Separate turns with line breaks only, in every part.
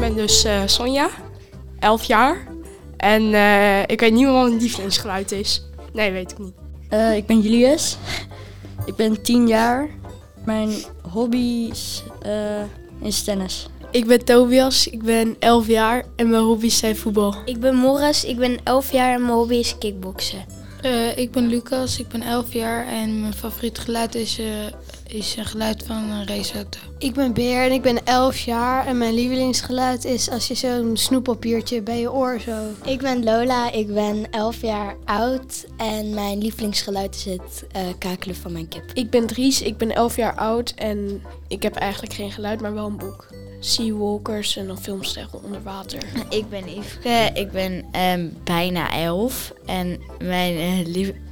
ben dus eh, Sonja, 11 jaar. En eh, ik weet niet meer wat een lievelingsgeluid is. Nee, weet ik niet.
Eh, ik ben Julius. Ik ben 10 jaar. Mijn hobby's eh, is tennis.
Ik ben Tobias, ik ben 11 jaar en mijn hobby's zijn voetbal.
Ik ben Morris, ik ben 11 jaar en mijn hobby is kickboksen.
Eh, ik ben Lucas, ik ben 11 jaar en mijn favoriet geluid is, eh, is een geluid van eh, een raceauto.
Ik ben Beer en ik ben 11 jaar en mijn lievelingsgeluid is als je zo'n snoeppapiertje bij je oor zo.
Ik ben Lola, ik ben 11 jaar oud en mijn lievelingsgeluid is het eh, kakelen van mijn kip.
Ik ben Dries, ik ben 11 jaar oud en ik heb eigenlijk geen geluid, maar wel een boek. Seawalkers en dan films tegen onder water.
Ik ben Yveske, ik ben ehm, bijna elf en mijn eh,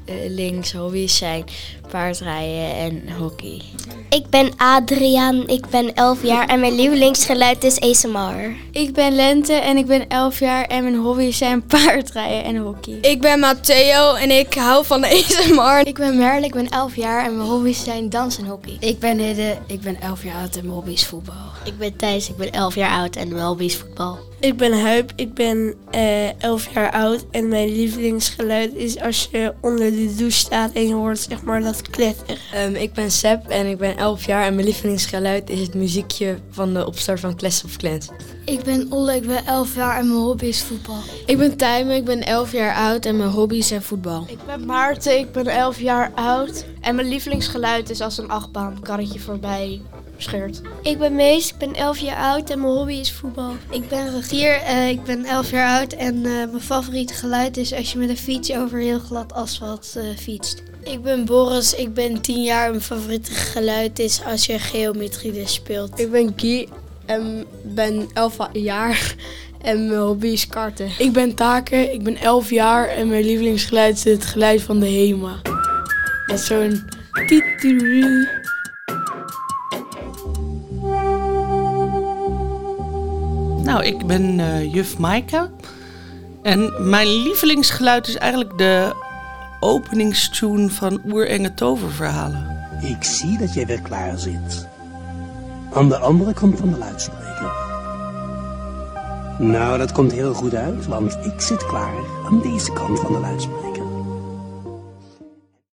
lievelingshobby's zijn paardrijden en hockey.
Ik ben Adriaan, ik ben 11 jaar en mijn lievelingsgeluid is ASMR.
Ik ben Lente en ik ben elf jaar en mijn hobby's zijn paardrijden en hockey.
Ik ben Matteo en ik hou van ASMR.
Ik ben Merle, ik ben 11 jaar en mijn hobby's zijn dans en hockey.
Ik ben Hidde, ik ben 11 jaar oud en mijn hobby is voetbal.
Ik ben Thijs, ik ben 11 jaar oud en mijn hobby is voetbal.
Ik ben Huip, ik ben eh 11 jaar oud en mijn lievelingsgeluid is als je onder de douche staat en je hoort zeg maar dat kletteren.
Ehm, ik ben Seb en ik ben 11 jaar en mijn lievelingsgeluid is het muziekje van de opstart van Clash of Clans.
Ik ben Olle, ik ben 11 jaar en mijn hobby is voetbal.
Ik ben Tijmen, ik ben 11 jaar oud en mijn hobby's zijn voetbal.
Ik ben Maarten, ik ben 11 jaar oud en mijn lievelingsgeluid is als een achtbaankarretje voorbij scheurt.
Ik ben Mees, ik ben 11 jaar oud en mijn hobby is voetbal. Ik ben Regier, Eh, ik ben 11 jaar oud en eh, mijn favoriete geluid is als je met een fiets over heel glad asfalt eh, fietst.
Ik ben Boris, ik ben 10 jaar en mijn favoriete geluid is als je geometrie dus speelt. Ik ben Guy en ben 11 jaar en mijn hobby is karten. Ik ben Taken, ik ben 11 jaar en mijn lievelingsgeluid is het geluid van de HEMA. Dat is zo'n...
Nou, ik ben eh, juf Maaike. En mijn lievelingsgeluid is eigenlijk de openingstune van Oerenge Toververhalen.
Ik zie dat jij weer klaar zit. Aan de andere kant van de luidspreker. Nou, dat komt heel goed uit, want ik zit klaar aan deze kant van de luidspreker.